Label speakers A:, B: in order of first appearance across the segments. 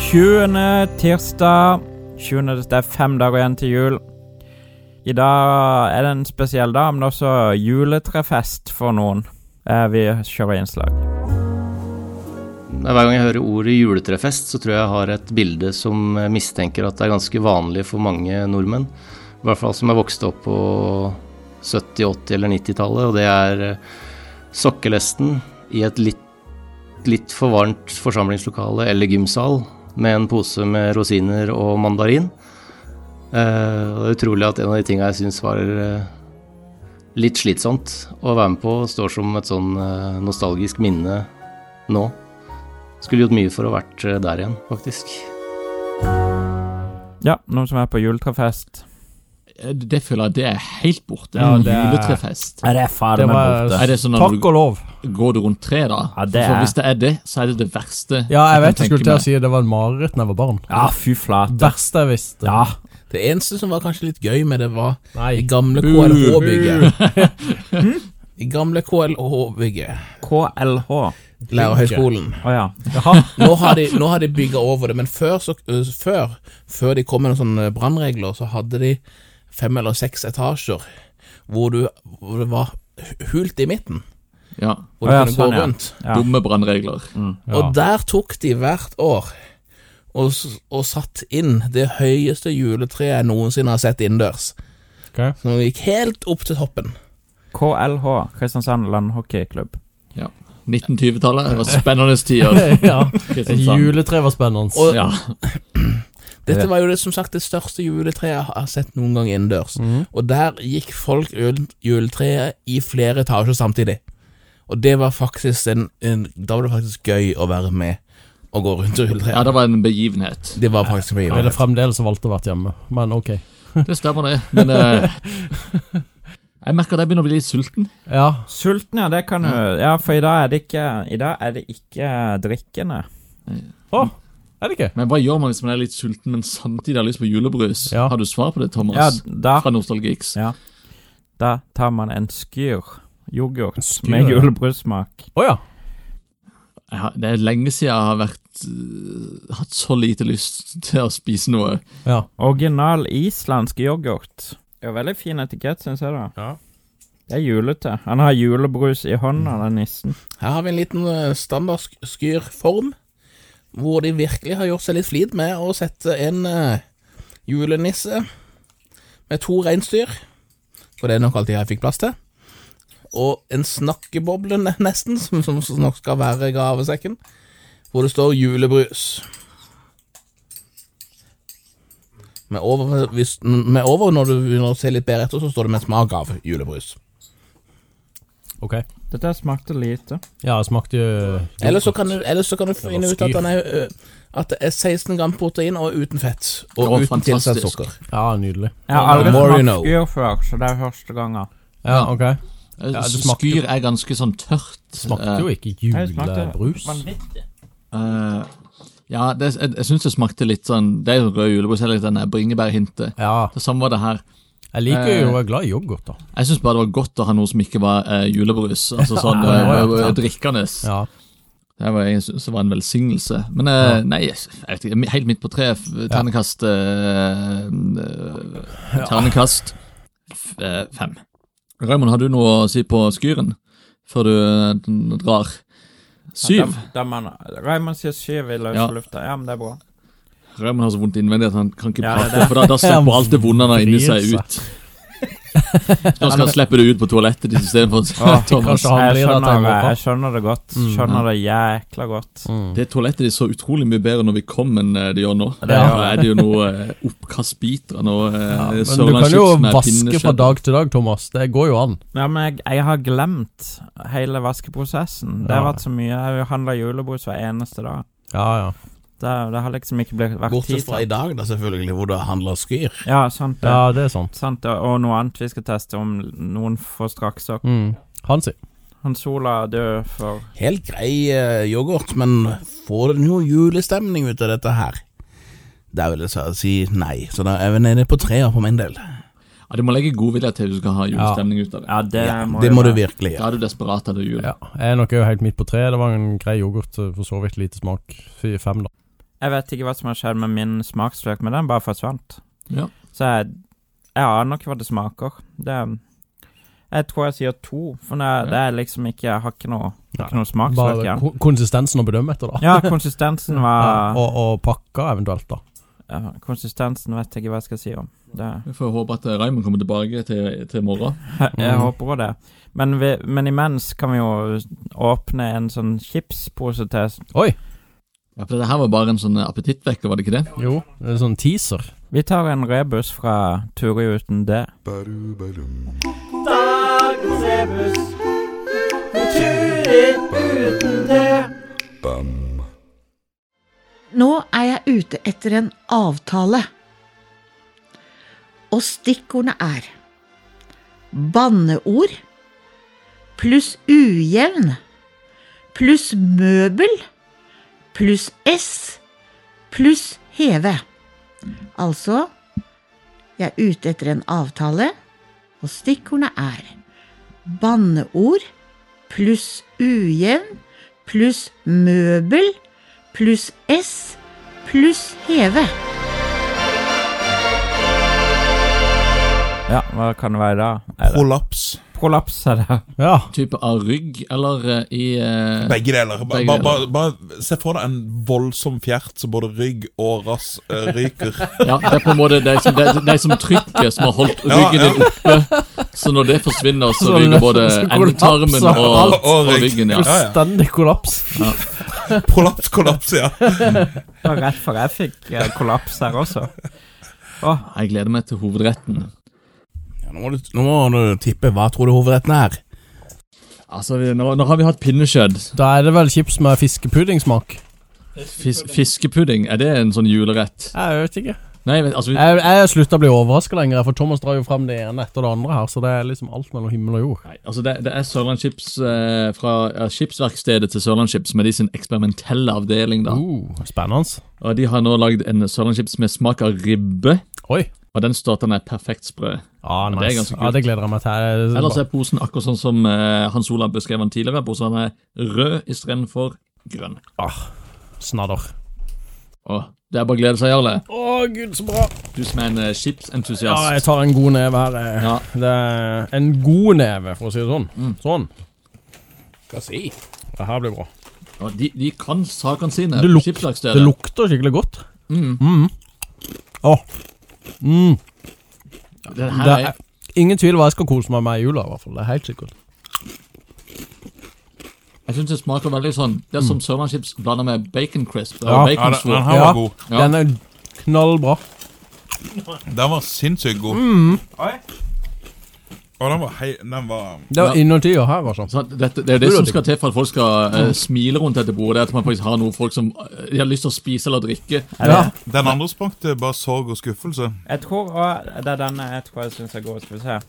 A: 20. tirsdag 20. Det er fem dager igjen til jul. I dag er det en spesiell dag, men også juletrefest for noen. Eh, Vi kjører innslag.
B: Hver gang jeg hører ordet juletrefest, så tror jeg jeg har et bilde som mistenker at det er ganske vanlig for mange nordmenn. I hvert fall som er vokst opp på 70-, 80- eller 90-tallet, og det er eh, sokkelesten i et litt, litt for varmt forsamlingslokale eller gymsal med en pose med rosiner og mandarin. Eh, og det er utrolig at en av de tinga jeg syns var eh, litt slitsomt å være med på, står som et sånn eh, nostalgisk minne nå. Skulle gjort mye for å ha vært eh, der igjen, faktisk.
A: Ja, noen som er på juletrefest.
C: Eh, Det føler jeg det er helt borte.
D: Ja,
C: en
D: det er-
C: juletrefest.
A: Ja, det er
D: Det
A: fader meg
D: var-
A: borte.
C: Er det sånn at
D: Takk
C: du
D: og lov.
C: går du rundt tre, da?
A: Ja, det
C: For
A: er-
C: Hvis det er det, så er det det verste.
D: Ja, jeg vet
C: kan
D: jeg
C: tenke
D: skulle til å
C: meg.
D: si det var et mareritt da jeg var barn.
A: Ja, fy flate.
D: Verste jeg visste.
A: Ja.
E: Det eneste som var kanskje litt gøy med det, var
D: Nei.
E: det gamle KLH-bygget.
A: Hmm?
E: Det gamle KLH-bygget.
A: KLH. Å
E: Lærerhøgskolen.
A: ja.
E: Nå har de, nå har de bygga over det, men før, så, øh, før, før de kom med noen sånne brannregler, så hadde de fem eller seks etasjer hvor, du, hvor det var hult i midten.
C: Ja.
E: Hvor
A: Å
E: du
A: ja,
E: kunne
A: sånn,
E: gå
A: ja.
E: rundt.
A: Ja.
C: Dumme brannregler.
D: Mm.
E: Og der tok de hvert år og, s- og satt inn det høyeste juletreet jeg noensinne har sett innendørs.
D: Ok.
E: Som gikk helt opp til toppen.
A: KLH, Kristiansand landhockeyklubb.
C: Ja. 1920-tallet det var spennende tider.
D: ja.
C: Kristiansand.
D: Juletre var spennende.
E: Og-
C: Ja.
E: Dette var jo det, som sagt det største juletreet jeg har sett noen gang innendørs.
A: Mhm.
E: Og der gikk folk rundt juletreet i flere etasjer samtidig. Og det var faktisk en, en Da var det faktisk gøy å være med og gå rundt
C: ja,
E: juletreet.
C: det var en begivenhet.
E: Det var faktisk mye.
D: Jeg ville fremdeles valgt å vært hjemme, men ok.
C: Det stemmer, det. Men eh, jeg merker at jeg begynner å bli litt sulten.
D: Ja,
A: Sulten, ja, det kan du Ja, for i dag er det ikke I dag er det ikke drikkende.
D: er det ikke?
C: Men hva gjør man hvis man er litt sulten, men samtidig har lyst på julebrus?
D: Ja.
C: Har du svar på det, Thomas?
A: Ja, da
C: Fra Nostalgiks.
A: Ja. Da tar man en skyr yoghurt
D: skyr,
A: med
D: ja.
A: julebrussmak.
D: Å ja.
C: Jeg har, det er lenge siden jeg har vært, øh, hatt så lite lyst til å spise noe.
D: ja.
A: Original islandsk yoghurt. Det er veldig fin etikett, syns jeg, da.
D: Ja.
A: Det er julete. Han har julebrus i hånda, den nissen.
E: Her har vi en liten eh, standard sk- skyrform, hvor de virkelig har gjort seg litt flid med å sette en eh, julenisse med to reinsdyr, for det er nok alt jeg fikk plass til, og en snakkeboble ne- nesten, som, som nok skal være gavesekken, hvor det står julebrus. Med over, hvis, med over når du begynner å se litt bedre etter, så står det med smak av julebrus.
D: Ok.
A: Dette smakte lite.
D: Ja, jeg smakte jo
E: Eller så kan du, eller så kan du finne ut
D: skyr.
E: at, den er, ø, at det er 16 gram protein og uten fett. Og
C: Å,
E: uten tilsatt
C: fantastisk.
E: sukker.
D: Ja, nydelig.
A: Jeg har aldri
E: More you
A: smakt
E: know.
A: skyr før, så det er første gangen.
D: Ja, ok.
C: Ja,
D: det smakte jo-
C: Altså, Skyr er ganske sånn tørt.
D: Smakte jo ikke
A: Jeg smakte
D: julebrus.
A: vanvittig.
C: Eh, ja, det, jeg, jeg syns det smakte litt sånn Det er jo rød julebrus, eller den der bringebærhintet.
D: Ja,
C: Det samme var det her.
D: jeg liker
C: Eh.
D: jo jeg er glad i yoghurt, da.
C: Jeg syns bare det var godt å ha noe som ikke var eh, julebrus. Altså sånn eh, eh, drikkende.
D: Ja.
C: Det var, jeg synes det var en velsignelse. Men eh, nei, jeg vet ikke, helt midt på treet. f- Ternekast eh, eh, Ternekast f- eh, fem. Raymond, har du noe å si på Skyren før du eh, drar? Syv.
A: Da, da man, Raymond sier syv i løse
C: Ja.
A: lufta. Ja, men det er bra.
C: Raymond har så vondt innvendig at han kan ikke
A: Ja, det er
C: prate, for da, da slipper alt det vonde han har inni seg,
D: Vrir
C: ut. Nå skal han slippe det ut på toalettet ditt istedenfor.
A: Åh,
C: Thomas.
D: kanskje han
A: Jeg
D: blir der til en
A: skjønner,
D: måte.
A: jeg skjønner det godt.
D: Mm,
A: Skjønner det jækla godt.
C: Det toalettet ditt så utrolig mye bedre når vi kom enn eh, det gjør nå.
A: Det
C: Da
A: gjør
C: er det jo noe eh, oppkastbiter og noe eh, ja,
D: Men du kan jo vaske fra dag til dag, Thomas. Det går jo an.
A: Ja, men jeg, jeg har glemt hele vaskeprosessen. Det har
D: Ja.
A: vært så mye. Jeg handler julebrus hver eneste dag.
D: Ja, ja.
A: Det, det har liksom ikke blitt vært tid
E: Bortsett fra i
A: til.
E: dag, da selvfølgelig, hvor du handler skyr.
A: Ja, sant det.
D: Ja, det er sant.
A: Sant det. Og noe annet vi skal teste om noen får straks opp.
D: Mm. Hansi.
A: Hans Ola er død for
E: Helt grei eh, yoghurt, men får du noe julestemning ut av dette her? Der vil jeg sa- sånn si nei, så da er vi nede på treer for min del.
C: Ja, Du må legge godvilje til du skal ha julestemning ut av det.
A: Ja, det
E: Ja,
A: må
E: det
A: jo
E: må du
A: være.
E: virkelig
C: Da
E: gjøre.
C: er du desperat etter jul.
D: eh, Ja, jeg er nok jo helt midt på treet. Det var en grei yoghurt, for så vidt lite smak. Fy- Fem, da.
A: Jeg vet ikke hva som har skjedd med min smaksløk, men den bare forsvant.
C: Ja.
A: Så jeg, jeg aner ikke hva det smaker. Det, jeg tror jeg sier to, for det, det er liksom ikke Jeg har ikke noe,
B: Nei.
A: ikke noe smaksløk
D: Bare
A: igjen.
D: ko- konsistensen å bedømme etter, da.
A: Ja, konsistensen
D: Ja,
A: var
D: og, og pakka eventuelt, da.
A: ja, Konsistensen vet jeg ikke hva jeg skal si om. Det,
C: Vi får håpe at eh, Raymond kommer tilbake til, til morgen.
A: jeg
D: Mm.
A: håper også det. Men, vi, men imens kan vi jo åpne en sånn chipspose til
D: Oi!
C: Ja, for Dette her var bare en sånn eh, appetittvekker, var det ikke det?
D: Jo, det er sånn teaser.
A: Vi tar en rebus fra Turi uten det.
F: Nå er jeg ute etter en avtale. Og stikkordene er banneord pluss ujevn pluss møbel pluss S pluss heve. Altså jeg er ute etter en avtale, og stikkordene er banneord pluss ujevn pluss møbel pluss S pluss heve.
A: Ja, hva kan det være da? Er det
G: Prolaps.
A: prolaps? Er det?
D: Ja.
C: Type av rygg, eller eh, i eh,
G: Begge deler. Ba-
C: Begge
G: ba-
C: deler.
G: ba- Bare se for deg en voldsom fjert så både rygg og rass eh, ryker.
C: Ja, det er på en måte de som, de, de som trykker, som har holdt ryggen
G: Ja, ja.
C: din oppe. Så når det forsvinner, Sånn så
D: Så
C: ryker
D: lø-
C: både
D: så kollapser
C: endetarmen
D: alt.
C: og, og
G: Og rygg.
C: ryggen. ja.
G: Ja, ja.
D: Fullstendig kollaps.
G: Prolaps, kollaps, ja.
A: Det var rett før jeg fikk eh, kollaps her også.
C: Jeg gleder meg til hovedretten.
E: Ja, nå, må du, nå må du tippe. Hva tror du hovedretten er?
C: Altså, vi- Nå, nå har vi hatt pinnekjøtt.
D: Da er det vel chips med fiskepuddingsmak.
C: Fis, fiskepudding, er det en sånn julerett?
D: Jeg vet ikke.
C: Nei, men, altså, vi,
D: Jeg, jeg slutta å bli overraska lenger, for Thomas drar jo fram det ene etter det andre her, så det er liksom alt mellom himmel og jord.
C: nei, altså det, det er Sørland Chips eh, fra ja, Skipsverkstedet til Sørland Chips, med de sin eksperimentelle avdeling. da.
D: Uh, spennende.
C: Og De har nå lagd en Sørland Chips med smak av ribbe,
D: Oi.
C: og den står at den er perfekt sprø.
D: Ja,
C: det er
D: Ah, nice.
C: ganske
D: ja,
C: kult.
D: det gleder jeg meg til. Jeg-
C: Ellers er posen akkurat sånn som eh, Hans Olav beskrev den tidligere. Posen er rød istedenfor grønn.
D: Snadder.
C: Og det er bare å glede seg, Jarle.
D: Å, gud, så bra.
C: Du som er en eh,
D: Ja,
C: chipsentusiast.
D: jeg tar en god neve her. eh.
C: Ja.
D: Det er en god neve, for å si det sånn. Sånn.
E: Hva si?
D: Det her blir bra.
C: Og de, de kan sakene sine.
D: Det luk-
C: Skipsverkstedet.
D: Det lukter skikkelig godt. Mm. Åh. Mm.
C: Det her
D: Det
C: er,
D: er ingen tvil hva jeg skal kose meg med i jula, i hvert fall. Det er helt sikkert.
C: jeg syns det smaker veldig sånn Det er som sørlandschips blanda med bacon crisp. Det er
D: Mm. Ja,
G: ja
C: bacon
G: den,
C: svor.
G: den her
D: Ja.
G: var god.
C: Ja.
D: Den er knallbra.
G: Den var sinnssykt god. Og den var hei... Den var
D: Det
C: Ja.
D: var innertida her, altså.
C: Så at dette, det er det som skal til for at folk skal eh,
D: Mm.
C: smile rundt dette bordet. det er At man faktisk har noe folk som eh, de har lyst til å spise eller drikke.
A: Er det?
D: Ja.
G: Den andre sprang til bare sorg og skuffelse.
A: Jeg tror og det er denne jeg tror jeg syns er god. Skal vi se.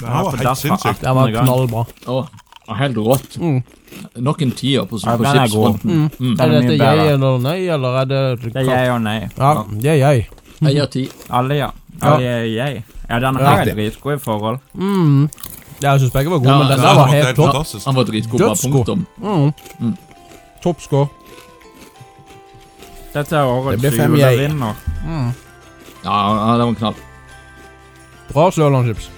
G: Den her var helt sinnssyk.
D: Den var knallbra.
C: Å, helt rått.
D: Mm.
C: Nok en tier på,
A: Ja,
C: på
A: den er god.
C: chipsfronten. Mm.
A: Den
D: Er
A: er mye
D: dette
A: bedre.
D: jeg eller nei, eller er det
A: Det er jeg og nei.
D: Ja, det er jeg.
C: Jeg gir ti.
A: Alle, ja. Alle er jeg. Ja, denne her er dritgod i forhold.
D: Mm. Jeg syns begge var gode,
C: Ja,
D: men den
C: ja,
D: der
G: Den
D: var
G: var
D: helt
G: helt
D: topp.
G: fantastisk.
C: Han var dritgod, bare
D: Dødsgod.
C: punktum.
D: Mm. Topp score.
A: Dette er
E: Det
A: årets
E: blir fem jeg.
A: julevinner.
C: Ja, ja, det var en knall.
D: Bra sørlandschips.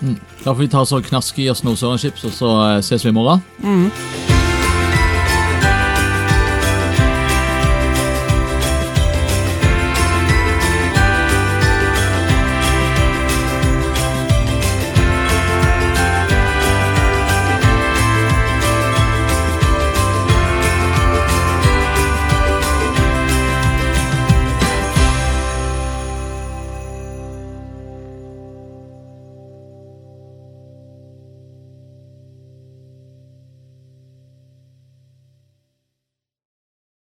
C: sånn Da får vi ta så knaske i oss noe Sørlandschips, og så eh, ses vi i morgen.
D: Mm.